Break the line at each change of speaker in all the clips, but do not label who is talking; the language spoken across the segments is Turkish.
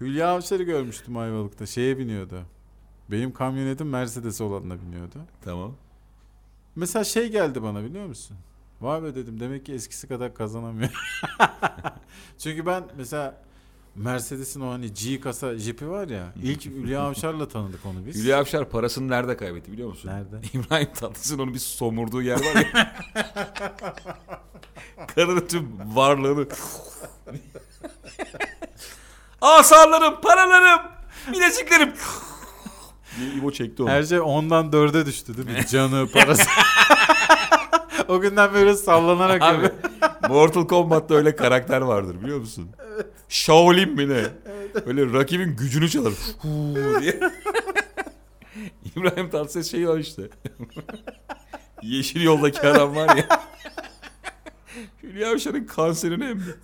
Hülya Avşar'ı görmüştüm Ayvalık'ta. Şeye biniyordu. Benim kamyonetim Mercedes olanla biniyordu.
Tamam.
Mesela şey geldi bana biliyor musun? Vay be dedim demek ki eskisi kadar kazanamıyor. Çünkü ben mesela Mercedes'in o hani G kasa jipi var ya. ilk Hülya Avşar'la tanıdık onu biz.
Hülya Avşar parasını nerede kaybetti biliyor musun?
Nerede?
İbrahim Tatlıses'in onu bir somurduğu yer var ya. Kadının tüm varlığını. Asarlarım, paralarım, bileziklerim. Diye İbo çekti onu.
Her şey ondan dörde düştü değil mi? Canı, parası. o günden böyle sallanarak.
Abi
yürü.
Mortal Kombat'ta öyle karakter vardır biliyor musun? Shaolin mi ne? Böyle rakibin gücünü çalar. Huu diye. İbrahim Tatlıses şey var işte. Yeşil yoldaki adam var ya. Hülya Avşar'ın kanserini emdi.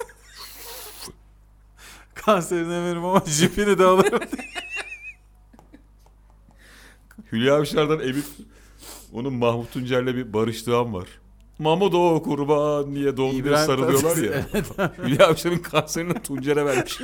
Kanserine veririm ama jipini de alırım.
Hülya Avşar'dan emip onun Mahmut Tuncer'le bir barıştığı an var. Mahmut o kurban diye doğum gününe
İbrahim
sarılıyorlar
Tatlıses,
ya. Hülya Avşar'ın kanserini Tuncer'e vermiş.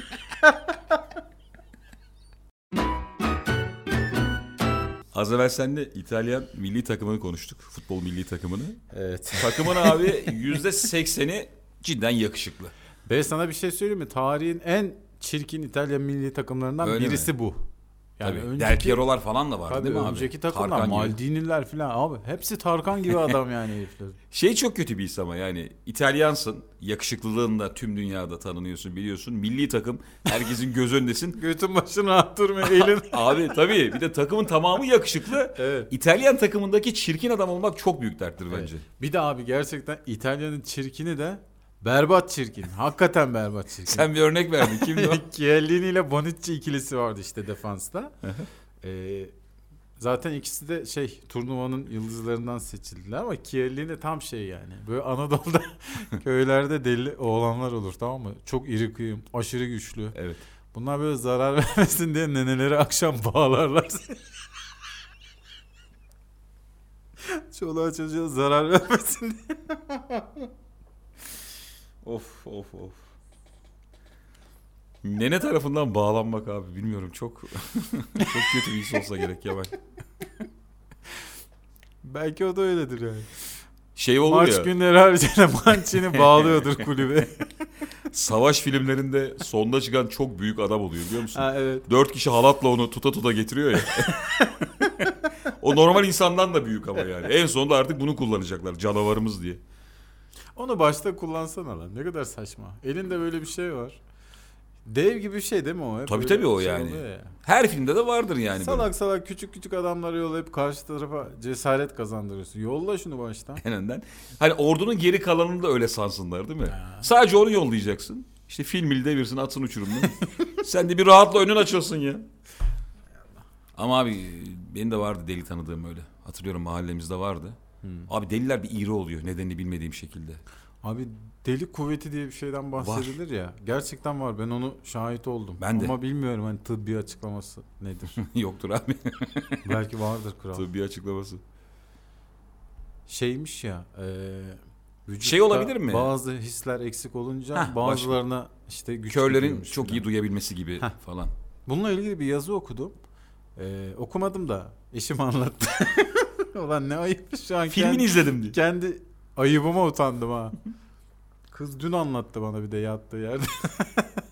Az evvel seninle İtalyan milli takımını konuştuk. Futbol milli takımını.
Evet.
Takımın abi yüzde sekseni cidden yakışıklı.
Ben sana bir şey söyleyeyim mi? Tarihin en çirkin İtalya milli takımlarından
Öyle
birisi bu. Yani
Tabii.
önceki,
Del Piero'lar falan da vardı
tabii
değil mi abi?
önceki takımlar
Tarkan gibi.
Maldiniler falan abi. Hepsi Tarkan gibi adam yani herifler.
Şey çok kötü bir his ama yani İtalyansın, yakışıklılığınla tüm dünyada tanınıyorsun biliyorsun. Milli takım herkesin göz önündesin.
Götün başına rahat durmuyor elin.
Abi tabii bir de takımın tamamı yakışıklı.
evet.
İtalyan takımındaki çirkin adam olmak çok büyük derttir bence.
Bir de abi gerçekten İtalya'nın çirkini de berbat çirkin. Hakikaten berbat çirkin.
Sen bir örnek verdin kimdi o?
Chiellini ile Bonucci ikilisi vardı işte defansta. Ee, zaten ikisi de şey turnuvanın yıldızlarından seçildiler ama Chiellini tam şey yani. Böyle Anadolu'da köylerde deli oğlanlar olur tamam mı? Çok iri kıyım, aşırı güçlü.
Evet.
Bunlar böyle zarar vermesin diye neneleri akşam bağlarlar. Çoluğa çocuğa zarar vermesin diye.
Of of of. Nene tarafından bağlanmak abi bilmiyorum çok çok kötü bir his olsa gerek Kemal.
Belki o da öyledir yani.
Şey olur
Maç
ya.
günleri haricinde Mancini bağlıyordur kulübe.
Savaş filmlerinde sonda çıkan çok büyük adam oluyor biliyor musun?
ha, evet.
Dört kişi halatla onu tuta tuta getiriyor ya. o normal insandan da büyük ama yani. En sonunda artık bunu kullanacaklar canavarımız diye.
Onu başta kullansana lan. Ne kadar saçma. Elinde böyle bir şey var. Dev gibi bir şey değil mi o? Hep
Tabii
böyle
tabii o
şey
yani.
oluyor ya.
Her filmde de vardır yani.
salak
böyle.
salak küçük küçük adamları yollayıp karşı tarafa cesaret kazandırıyorsun. Yolla şunu baştan.
En önden. Hani ordunun geri kalanını da öyle sansınlar değil mi? Sadece onu yollayacaksın. İşte film il devirsin atsın uçurumdan. Sen de bir rahatla önün açılsın ya. Ama abi benim de vardı deli tanıdığım öyle. Hatırlıyorum mahallemizde vardı. Abi deliler bir iğri oluyor nedenini bilmediğim şekilde.
Abi deli kuvveti diye bir şeyden bahsedilir ya. Gerçekten var. Ben onu şahit oldum.
Ben de.
Ama bilmiyorum hani tıbbi açıklaması nedir.
Yoktur abi.
Belki vardır kral.
Tabii bir açıklaması.
Şeymiş ya. e, vücutta
Şey olabilir mi?
Bazı hisler eksik olunca
Hah,
bazılarına işte güç
Körlerin
gidiyormuş
çok
filan.
iyi duyabilmesi gibi
Heh.
falan.
Bununla ilgili bir yazı okudum. Ee, okumadım da eşim anlattı. Ulan ne ayıp şu an.
Filmini
kendi,
izledim diye.
kendi ayıbıma utandım ha. Kız dün anlattı bana bir de yattığı yerde.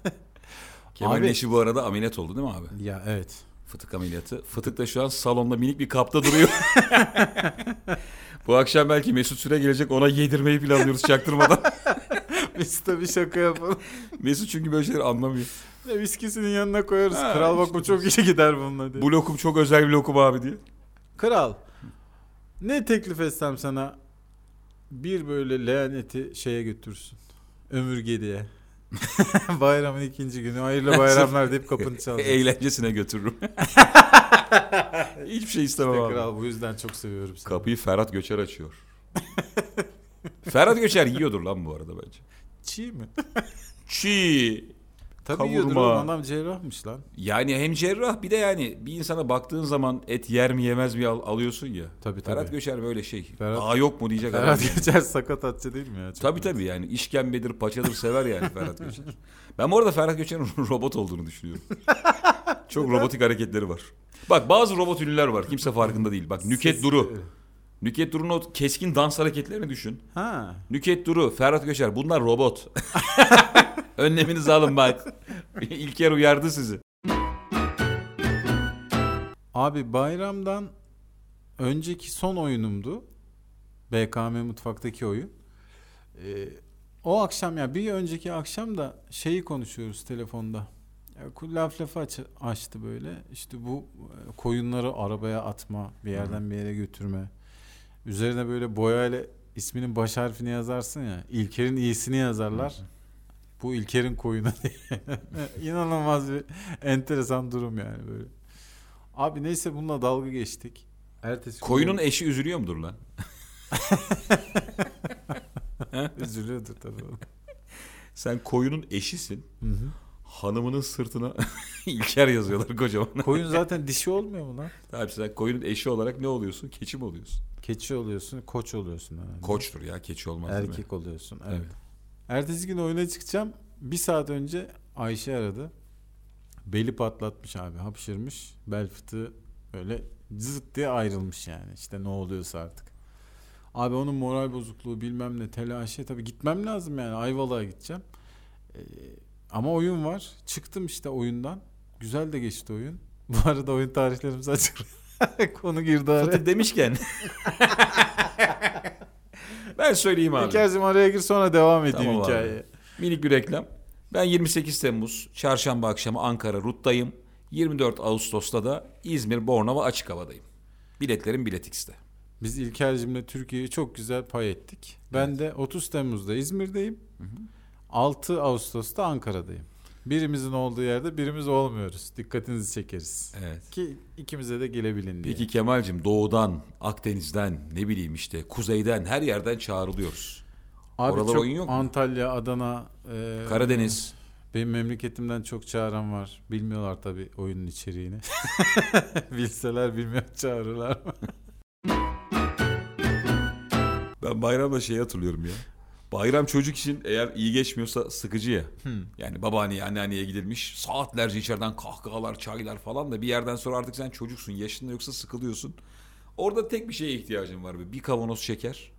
Kemal'in
Abi-
eşi bu arada ameliyat oldu değil mi abi?
ya evet.
Fıtık ameliyatı. Fıtık da şu an salonda minik bir kapta duruyor. bu akşam belki Mesut Süre gelecek ona yedirmeyi planlıyoruz çaktırmadan.
Biz tabii şaka yapalım.
Mesut çünkü böyle şeyleri anlamıyor.
Ve Viskisinin yanına koyarız.
Ha,
Kral bak
işte.
bu çok iyi gider bununla diye.
Bu lokum çok özel bir lokum abi diye.
Kral. Ne teklif etsem sana bir böyle leğen eti şeye götürsün. Ömürgediye. Bayramın ikinci günü. Hayırlı bayramlar deyip kapını çalsın.
E, Eğlencesine götürürüm. Hiçbir şey istemem
İşte
abi.
kral bu yüzden çok seviyorum seni.
Kapıyı Ferhat Göçer açıyor. Ferhat Göçer yiyordur lan bu arada bence.
Çiğ mi?
Çiğ.
Tabii
kavurma.
yiyordur oğlum adam cerrahmış lan.
Yani hem cerrah bir de yani bir insana baktığın zaman et yer mi yemez mi al- alıyorsun ya.
Tabii,
Ferhat
tabii.
Göçer böyle şey.
Ferhat-
Aa yok mu diyecek adam.
Ferhat Geçer sakat atçı değil mi ya? Çok
Tabii tabii yani işkembedir, paçadır sever yani Ferhat Göçer. Ben bu arada Ferhat Göçer'in robot olduğunu düşünüyorum. Çok robotik hareketleri var. Bak bazı robot ünlüler var. Kimse farkında değil. Bak Nüket Duru. Nüket Duru'nun o keskin dans hareketlerini düşün.
Ha.
Nüket Duru, Ferhat Göçer bunlar robot. Önleminizi alın bak. İlker uyardı sizi.
Abi bayramdan önceki son oyunumdu. BKM mutfaktaki oyun. Ee, o akşam ya bir önceki akşam da şeyi konuşuyoruz telefonda. Ya, ku- laf lafı aç- açtı böyle. İşte bu e, koyunları arabaya atma, bir yerden bir yere götürme. Üzerine böyle boyayla isminin baş harfini yazarsın ya. İlker'in iyisini yazarlar. Bu İlker'in koyunu diye. İnanılmaz bir enteresan durum yani böyle. Abi neyse bununla dalga geçtik. Ertesi gün-
Koyunun eşi üzülüyor mudur lan?
üzülüyordur tabii. oğlum.
Sen koyunun eşisin.
Hı hı.
Hanımının sırtına İlker yazıyorlar kocaman.
Koyun zaten dişi olmuyor mu lan?
Abi sen koyunun eşi olarak ne oluyorsun? Keçi mi oluyorsun?
Keçi oluyorsun, koç oluyorsun. herhalde.
Koçtur ya keçi olmaz değil mi?
Erkek oluyorsun. Evet.
Evet.
Ertesi gün oyuna çıkacağım. Bir saat önce Ayşe aradı. Beli patlatmış abi, hapşırmış. Bel fıtığı böyle zıt diye ayrılmış yani. İşte ne oluyorsa artık. Abi onun moral bozukluğu bilmem ne telaşı. Tabii gitmem lazım yani. Ayvalık'a gideceğim. Ee, ama oyun var. Çıktım işte oyundan. Güzel de geçti oyun. Bu arada oyun tarihlerimiz açık. Konu girdi araya.
Fıtık demişken. ben söyleyeyim abi.
İlker'cim araya gir sonra devam edeyim
Tamam abi.
hikayeye.
Minik bir reklam. Ben 28 Temmuz çarşamba akşamı Ankara Rut'tayım. 24 Ağustos'ta da İzmir Bornova açık havadayım. Biletlerim Bilet X'te.
Biz İlker'cimle Türkiye'yi çok güzel pay ettik. Ben de 30 Temmuz'da İzmir'deyim. 6 Ağustos'ta Ankara'dayım. Birimizin olduğu yerde birimiz olmuyoruz. Dikkatinizi çekeriz.
Evet.
Ki ikimize de gelebilin diye.
Peki Kemal'cim doğudan, Akdeniz'den, ne bileyim işte kuzeyden her yerden çağrılıyoruz.
Abi
oralar
çok
oyun yok mu?
Antalya, Adana, e,
Karadeniz.
Benim memleketimden çok çağıran var. Bilmiyorlar tabii oyunun içeriğini. Bilseler bilmiyor çağırırlar.
Ben bayramda şey hatırlıyorum ya. Bayram çocuk için eğer iyi geçmiyorsa sıkıcı ya. Yani babaanneye, anneanneye gidilmiş. Saatlerce içeriden kahkahalar, çaylar falan da bir yerden sonra artık sen çocuksun. Yaşın da yoksa sıkılıyorsun. Orada tek bir şeye ihtiyacın var. be. Bir kavanoz şeker.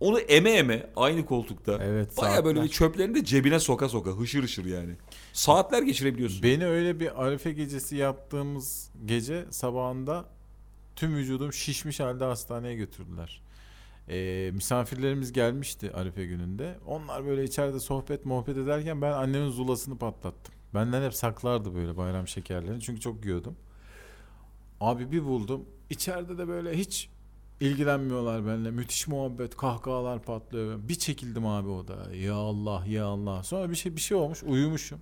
Onu eme eme aynı koltukta.
Evet,
Baya böyle
saatler.
bir çöplerini de cebine soka soka hışır hışır yani. Saatler geçirebiliyorsun.
Beni öyle bir Arife gecesi yaptığımız gece sabahında tüm vücudum şişmiş halde hastaneye götürdüler. Ee, misafirlerimiz gelmişti Arife gününde. Onlar böyle içeride sohbet muhabbet ederken ben annemin zulasını patlattım. Benden hep saklardı böyle bayram şekerlerini çünkü çok yiyordum. Abi bir buldum. İçeride de böyle hiç ilgilenmiyorlar benimle. Müthiş muhabbet, kahkahalar patlıyor. Bir çekildim abi oda. Ya Allah, ya Allah. Sonra bir şey bir şey olmuş. Uyumuşum.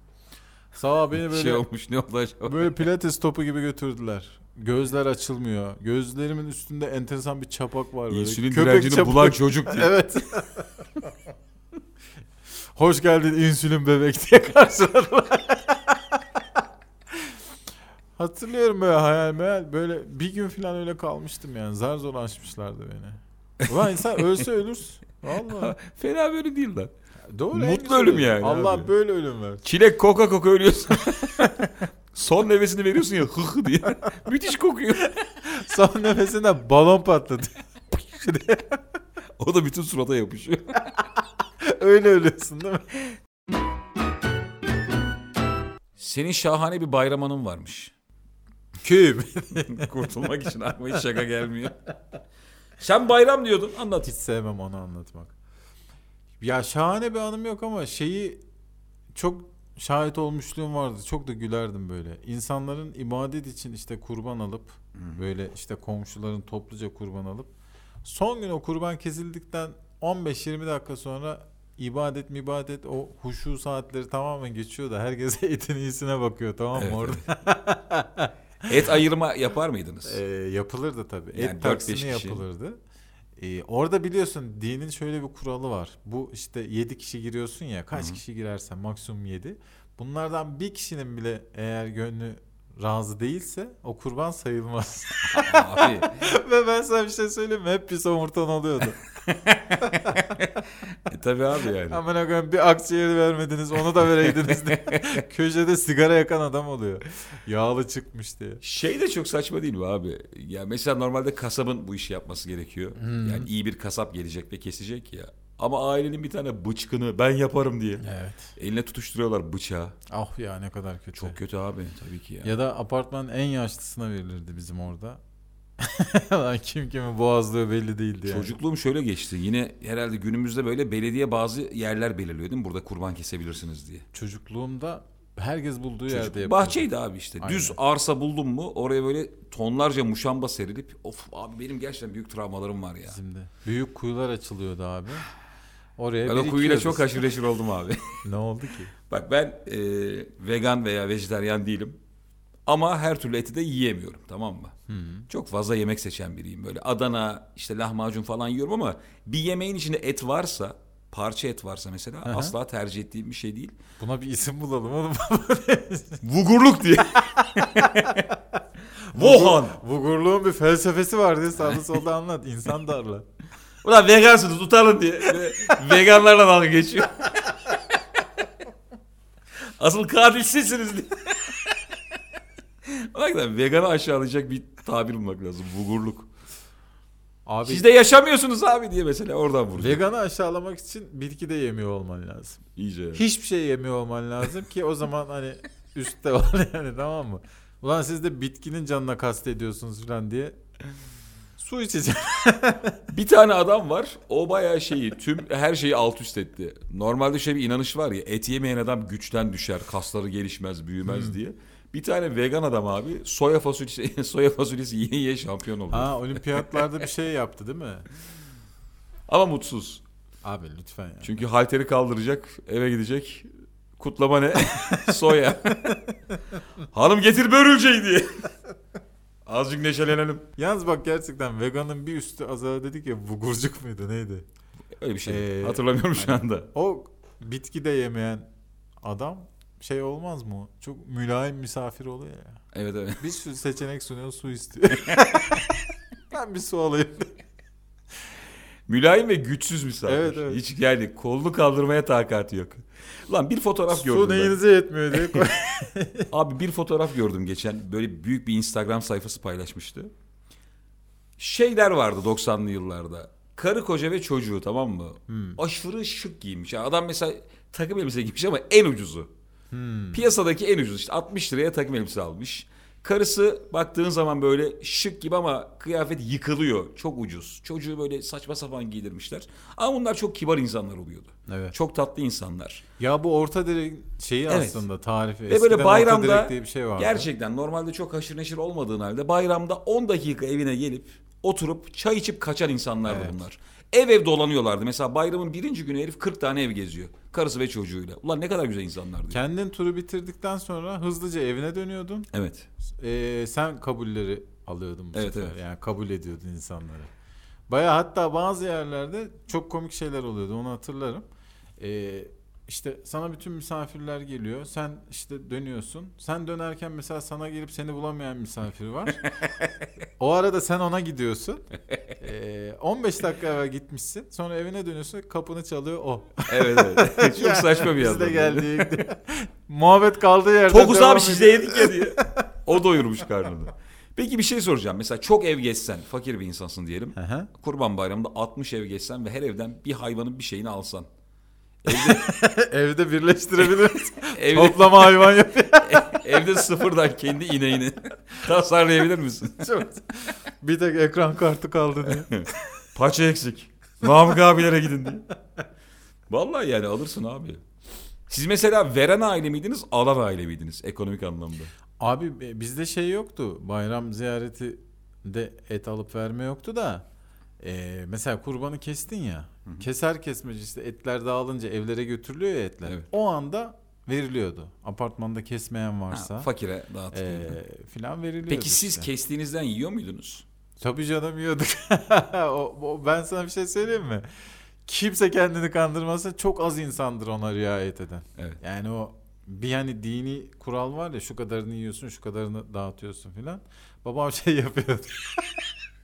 Sabah beni böyle
şey olmuş ne oldu acaba?
Böyle pilates topu gibi götürdüler. Gözler açılmıyor. Gözlerimin üstünde enteresan bir çapak var böyle.
İnsülin
Köpek
direncini
çapak.
bulan çocuk diye.
Evet. Hoş geldin insülin bebek diye karşıladılar. Hatırlıyorum böyle hayal meyal. Böyle bir gün falan öyle kalmıştım yani. Zar zor açmışlardı beni. Ulan insan ölse ölür. Vallahi.
Fena böyle değil lan.
Doğru. en
Mutlu
güzeli.
ölüm yani
Allah
abi.
böyle ölüm versin.
Çilek koka koka ölüyorsun. Son nefesini veriyorsun ya hı hı diye. Müthiş kokuyor.
Son nefesinde balon patladı.
O da bütün surata yapışıyor.
öyle ölüyorsun değil mi?
Senin şahane bir bayram anın varmış.
Kim?
Kurtulmak için aklıma hiç şaka gelmiyor. Sen bayram diyordun anlat.
Hiç sevmem onu anlatmak. Ya şahane bir anım yok ama şeyi çok şahit olmuşluğum vardı. Çok da gülerdim böyle. İnsanların ibadet için işte kurban alıp böyle işte komşuların topluca kurban alıp son gün o kurban kesildikten 15-20 dakika sonra ibadet mibadet o huşu saatleri tamamen geçiyor da herkes etin iyisine bakıyor tamam mı
Evet,
orada?
Et ayırma yapar mıydınız?
Ee, yapılırdı tabii.
Yani dört
Et
beş
taksimi
kişi.
yapılırdı. Ee, orada biliyorsun dinin şöyle bir kuralı var. Bu işte 7 kişi giriyorsun ya kaç kişi girersen maksimum 7. Bunlardan bir kişinin bile eğer gönlü razı değilse o kurban sayılmaz.
Abi
Ve ben sana bir şey söyleyeyim mi? Hep bir somurtan oluyordu.
e, tabii abi yani.
Aman koyayım bir akciğeri vermediniz onu da vereydiniz diye. Köşede sigara yakan adam oluyor. Yağlı çıkmış diye.
Şey de çok saçma değil mi abi? Ya mesela normalde kasabın bu işi yapması gerekiyor. Yani iyi bir kasap gelecek ve kesecek ya. Ama ailenin bir tane bıçkını ben yaparım diye.
Evet.
Eline tutuşturuyorlar bıçağı.
Ah ya ne kadar kötü.
Çok kötü abi tabii ki ya.
Ya da apartmanın en yaşlısına verilirdi bizim orada. Lan kim kimi boğazlıyor belli değildi yani.
Çocukluğum şöyle geçti. Yine herhalde günümüzde böyle belediye bazı yerler belirliyor değil mi? Burada kurban kesebilirsiniz diye.
Çocukluğumda herkes bulduğu yerde
Çocuk-
yapıyordu.
bahçeydi abi işte.
Aynen.
Düz arsa buldum mu oraya böyle tonlarca muşamba serilip of abi benim gerçekten büyük travmalarım var ya.
Bizim de. Büyük kuyular açılıyordu abi. Oraya
Ben o kuyuyla
birikiyoruz.
çok haşır neşir oldum abi.
Ne oldu ki?
Bak ben e, vegan veya vejetaryen değilim. Ama her türlü eti de yiyemiyorum tamam mı? Çok fazla yemek seçen biriyim böyle. Adana işte lahmacun falan yiyorum ama bir yemeğin içinde et varsa parça et varsa mesela asla tercih ettiğim bir şey değil.
Buna bir isim bulalım oğlum.
Vugurluk diye. Vohan.
Vugurluğun bir felsefesi var diye sağda solda anlat. İnsan darla.
Ulan vegansınız utanın diye. Ve Veganlarla dalga geçiyor. Asıl katil sizsiniz diye. Bak lan veganı aşağılayacak bir tabir bulmak lazım. Vugurluk.
Abi
Siz de yaşamıyorsunuz abi diye mesela oradan vurdu.
veganı aşağılamak için bitki de yemiyor olman lazım.
İyice. yani.
Hiçbir şey yemiyor olman lazım ki o zaman hani üstte var yani tamam mı? Ulan siz de bitkinin canına kastediyorsunuz falan diye. Su içeceğim.
Bir tane adam var. O bayağı şeyi tüm her şeyi alt üst etti. Normalde şöyle bir inanış var ya et yemeyen adam güçten düşer, kasları gelişmez, büyümez diye. Bir tane vegan adam abi soya fasulyesi soya fasulyesi yiye yiye şampiyon oldu.
Ha olimpiyatlarda bir şey yaptı değil mi?
Ama mutsuz.
Abi lütfen ya.
Çünkü halteri kaldıracak, eve gidecek. Kutlama ne? Soya. Hanım getir börülceyi diye. Azıcık neşelenelim.
Yalnız bak gerçekten veganın bir üstü azar dedik ya vugurcuk muydu neydi?
Öyle bir şey.
Ee,
Hatırlamıyorum şu anda.
O bitki de yemeyen adam şey olmaz mı? Çok mülayim misafir oluyor ya.
Evet evet.
Bir sürü seçenek sunuyor su istiyor. ben bir su alayım.
Mülayim ve güçsüz misafir.
Evet, evet.
Hiç yani kolunu kaldırmaya takati yok. Lan bir fotoğraf gördüm
su
ben.
neyinize yetmiyor diye. koy-
Abi bir fotoğraf gördüm geçen. Böyle büyük bir Instagram sayfası paylaşmıştı. Şeyler vardı 90'lı yıllarda. Karı koca ve çocuğu tamam mı? Aşırı şık giymiş. Yani adam mesela takım elbise giymiş ama en ucuzu. Piyasadaki en ucuz işte 60 liraya takım elbise almış. Karısı baktığın zaman böyle şık gibi ama kıyafet yıkılıyor. Çok ucuz. Çocuğu böyle saçma sapan giydirmişler. Ama bunlar çok kibar insanlar oluyordu.
Evet.
Çok tatlı insanlar.
ya bu orta direk şeyi
Evet.
aslında tarifi.
Ve E böyle
Eskiden orta
bayramda
direk diye bir şey vardı.
gerçekten normalde çok haşır neşir olmadığın halde bayramda 10 dakika evine gelip oturup çay içip kaçan insanlardı
Evet.
bunlar. Ev ev dolanıyorlardı. Mesela bayramın birinci günü herif 40 tane ev geziyor. Karısı ve çocuğuyla. Ulan ne kadar güzel insanlardı.
Kendin turu bitirdikten sonra hızlıca evine dönüyordun.
evet.
Ee, sen kabulleri alıyordun bu
Evet,
sefer.
evet.
Yani kabul ediyordun insanları. Baya hatta bazı yerlerde çok komik şeyler oluyordu onu hatırlarım. Ee, işte sana bütün misafirler geliyor. Sen işte dönüyorsun. Sen dönerken mesela sana gelip seni bulamayan misafir var. o arada sen ona gidiyorsun. Ee, 15 dakika evvel gitmişsin. Sonra evine dönüyorsun. Kapını çalıyor o.
Evet evet. çok saçma bir
Biz de
adam.
geldik. Muhabbet kaldığı yerden
Tokuz
devam
abi siz de
ediyor.
yedik şey ya diye. O doyurmuş karnını. Peki bir şey soracağım. Mesela çok ev gezsen, fakir bir insansın diyelim.
Hı hı.
Kurban Bayramı'nda 60 ev gezsen ve her evden bir hayvanın bir şeyini alsan.
Evde birleştirebiliriz.
Evde,
Toplama hayvan yapıyor.
evde sıfırdan kendi ineğini tasarlayabilir misin?
Çok- bir tek ekran kartı kaldı diye.
Paça eksik. Namık abilere gidin diye. Vallahi yani alırsın abi. Siz mesela veren aile miydiniz, alan aile miydiniz ekonomik anlamda?
Abi e, bizde şey yoktu. Bayram ziyareti de et alıp verme yoktu da. e, mesela kurbanı kestin ya. Keser kesmez işte etler dağılınca evlere götürülüyor ya etler.
Evet.
O anda veriliyordu. Apartmanda kesmeyen varsa
Ha, fakire dağıtılıyor.
e, filan veriliyordu.
Peki siz
işte.
kestiğinizden yiyor muydunuz?
Tabii canım yiyorduk. o, o- ben sana bir şey söyleyeyim mi? Kimse kendini kandırmasın. Çok az insandır ona riayet eden.
Evet.
Yani o bir hani dini kural var ya şu kadarını yiyorsun şu kadarını dağıtıyorsun filan. Babam şey yapıyordu.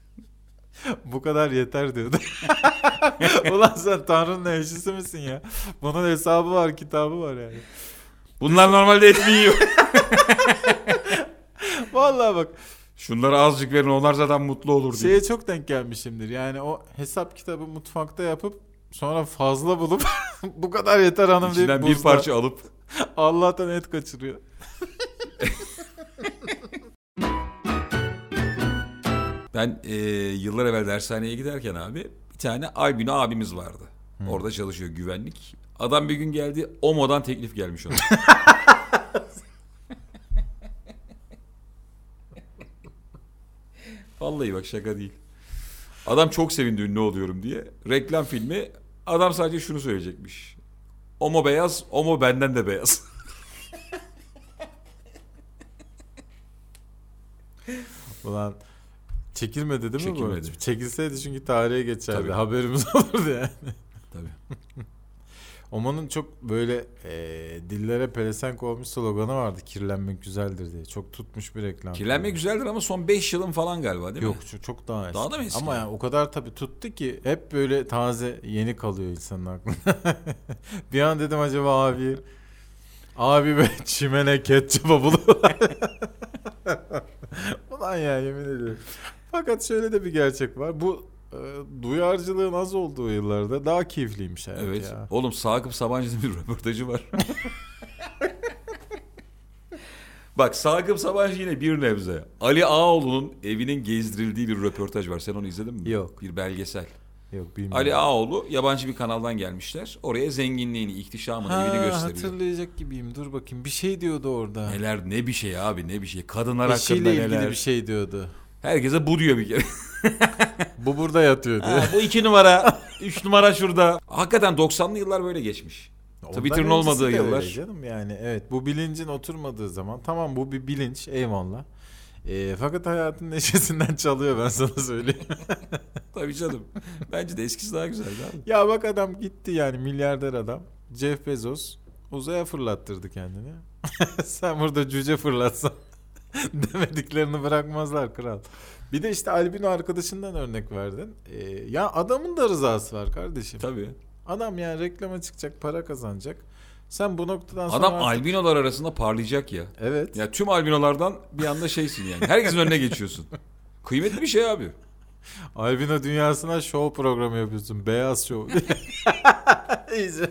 Bu kadar yeter diyordu. Ulan sen Tanrı'nın elçisi misin ya? Bunun hesabı var kitabı var yani.
Bunlar normalde et mi yiyor?
Vallahi bak
Şunlara azıcık verin onlar zaten mutlu olur diye.
şeye çok denk gelmişimdir. Yani o hesap kitabı mutfakta yapıp sonra fazla bulup bu kadar yeter hanım deyip
İçinden bir
buzda-
parça alıp
Allah'tan et kaçırıyor.
Ben e, yıllar evvel dershaneye giderken abi bir tane Albino abimiz vardı. Orada çalışıyor güvenlik. Adam bir gün geldi Omo'dan teklif gelmiş ona. Vallahi bak şaka değil. Adam çok sevindi ünlü oluyorum diye. Reklam filmi adam sadece şunu söyleyecekmiş. Omo beyaz, Omo benden de beyaz.
Ulan çekilmedi değil mi bu?
Çekilmedi.
Çekilseydi çünkü tarihe geçerdi.
Tabii.
Haberimiz olurdu yani.
Tabii.
Oman'ın çok böyle e, dillere pelesenk olmuş sloganı vardı. Kirlenmek güzeldir diye. Çok tutmuş bir reklam.
Kirlenme güzeldir ama son 5 yılın falan galiba değil mi?
Yok çok, çok daha eski.
Daha da mı eski?
Ama yani o kadar tabii tuttu ki hep böyle taze yeni kalıyor insanın aklında. bir an dedim acaba abi abi be çimene ketçaba buluyorlar. Ulan ya yemin ediyorum. Fakat şöyle de bir gerçek var. Bu e, duyarcılığın az olduğu yıllarda daha keyifliymiş hayat
Evet.
ya.
Oğlum Sakıp Sabancı'nın bir röportajı var. Bak Sakıp Sabancı yine bir nebze. Ali Ağaoğlu'nun evinin gezdirildiği bir röportaj var. Sen onu izledin mi?
Yok.
Bir belgesel.
Yok bilmiyorum.
Ali Ağaoğlu yabancı bir kanaldan gelmişler. Oraya zenginliğini, ihtişamını,
Ha,
evini gösteriyor.
hatırlayacak gibiyim. Dur bakayım. Bir şey diyordu orada.
Neler ne bir şey abi ne bir şey. Kadınlar hakkında
Eşiyle ilgili
neler.
bir şey diyordu.
Herkese bu diyor bir kere.
Bu burada yatıyor diye.
Ha, bu iki numara, üç numara şurada. Hakikaten 90'lı yıllar böyle geçmiş.
Ondan
Twitter'ın
öncesi
olmadığı
de öyle
yıllar.
canım yani evet bu bilincin oturmadığı zaman tamam bu bir bilinç eyvallah. Ee, fakat hayatın neşesinden çalıyor ben sana söyleyeyim.
Tabii canım. Bence de eskisi daha güzeldi abi.
ya bak adam gitti yani milyarder adam. Jeff Bezos uzaya fırlattırdı kendini. Sen burada cüce fırlatsan demediklerini bırakmazlar kral. Bir de işte Albino arkadaşından örnek verdin. Ee, ya adamın da rızası var kardeşim.
Tabii.
Adam yani reklama çıkacak para kazanacak. Sen bu noktadan sonra...
Adam albinolar arasında parlayacak ya.
Evet.
Ya tüm albinolardan bir anda şeysin yani. Herkesin önüne geçiyorsun. Kıymetli bir şey abi.
Albino dünyasına show programı yapıyorsun. Beyaz show. İyice.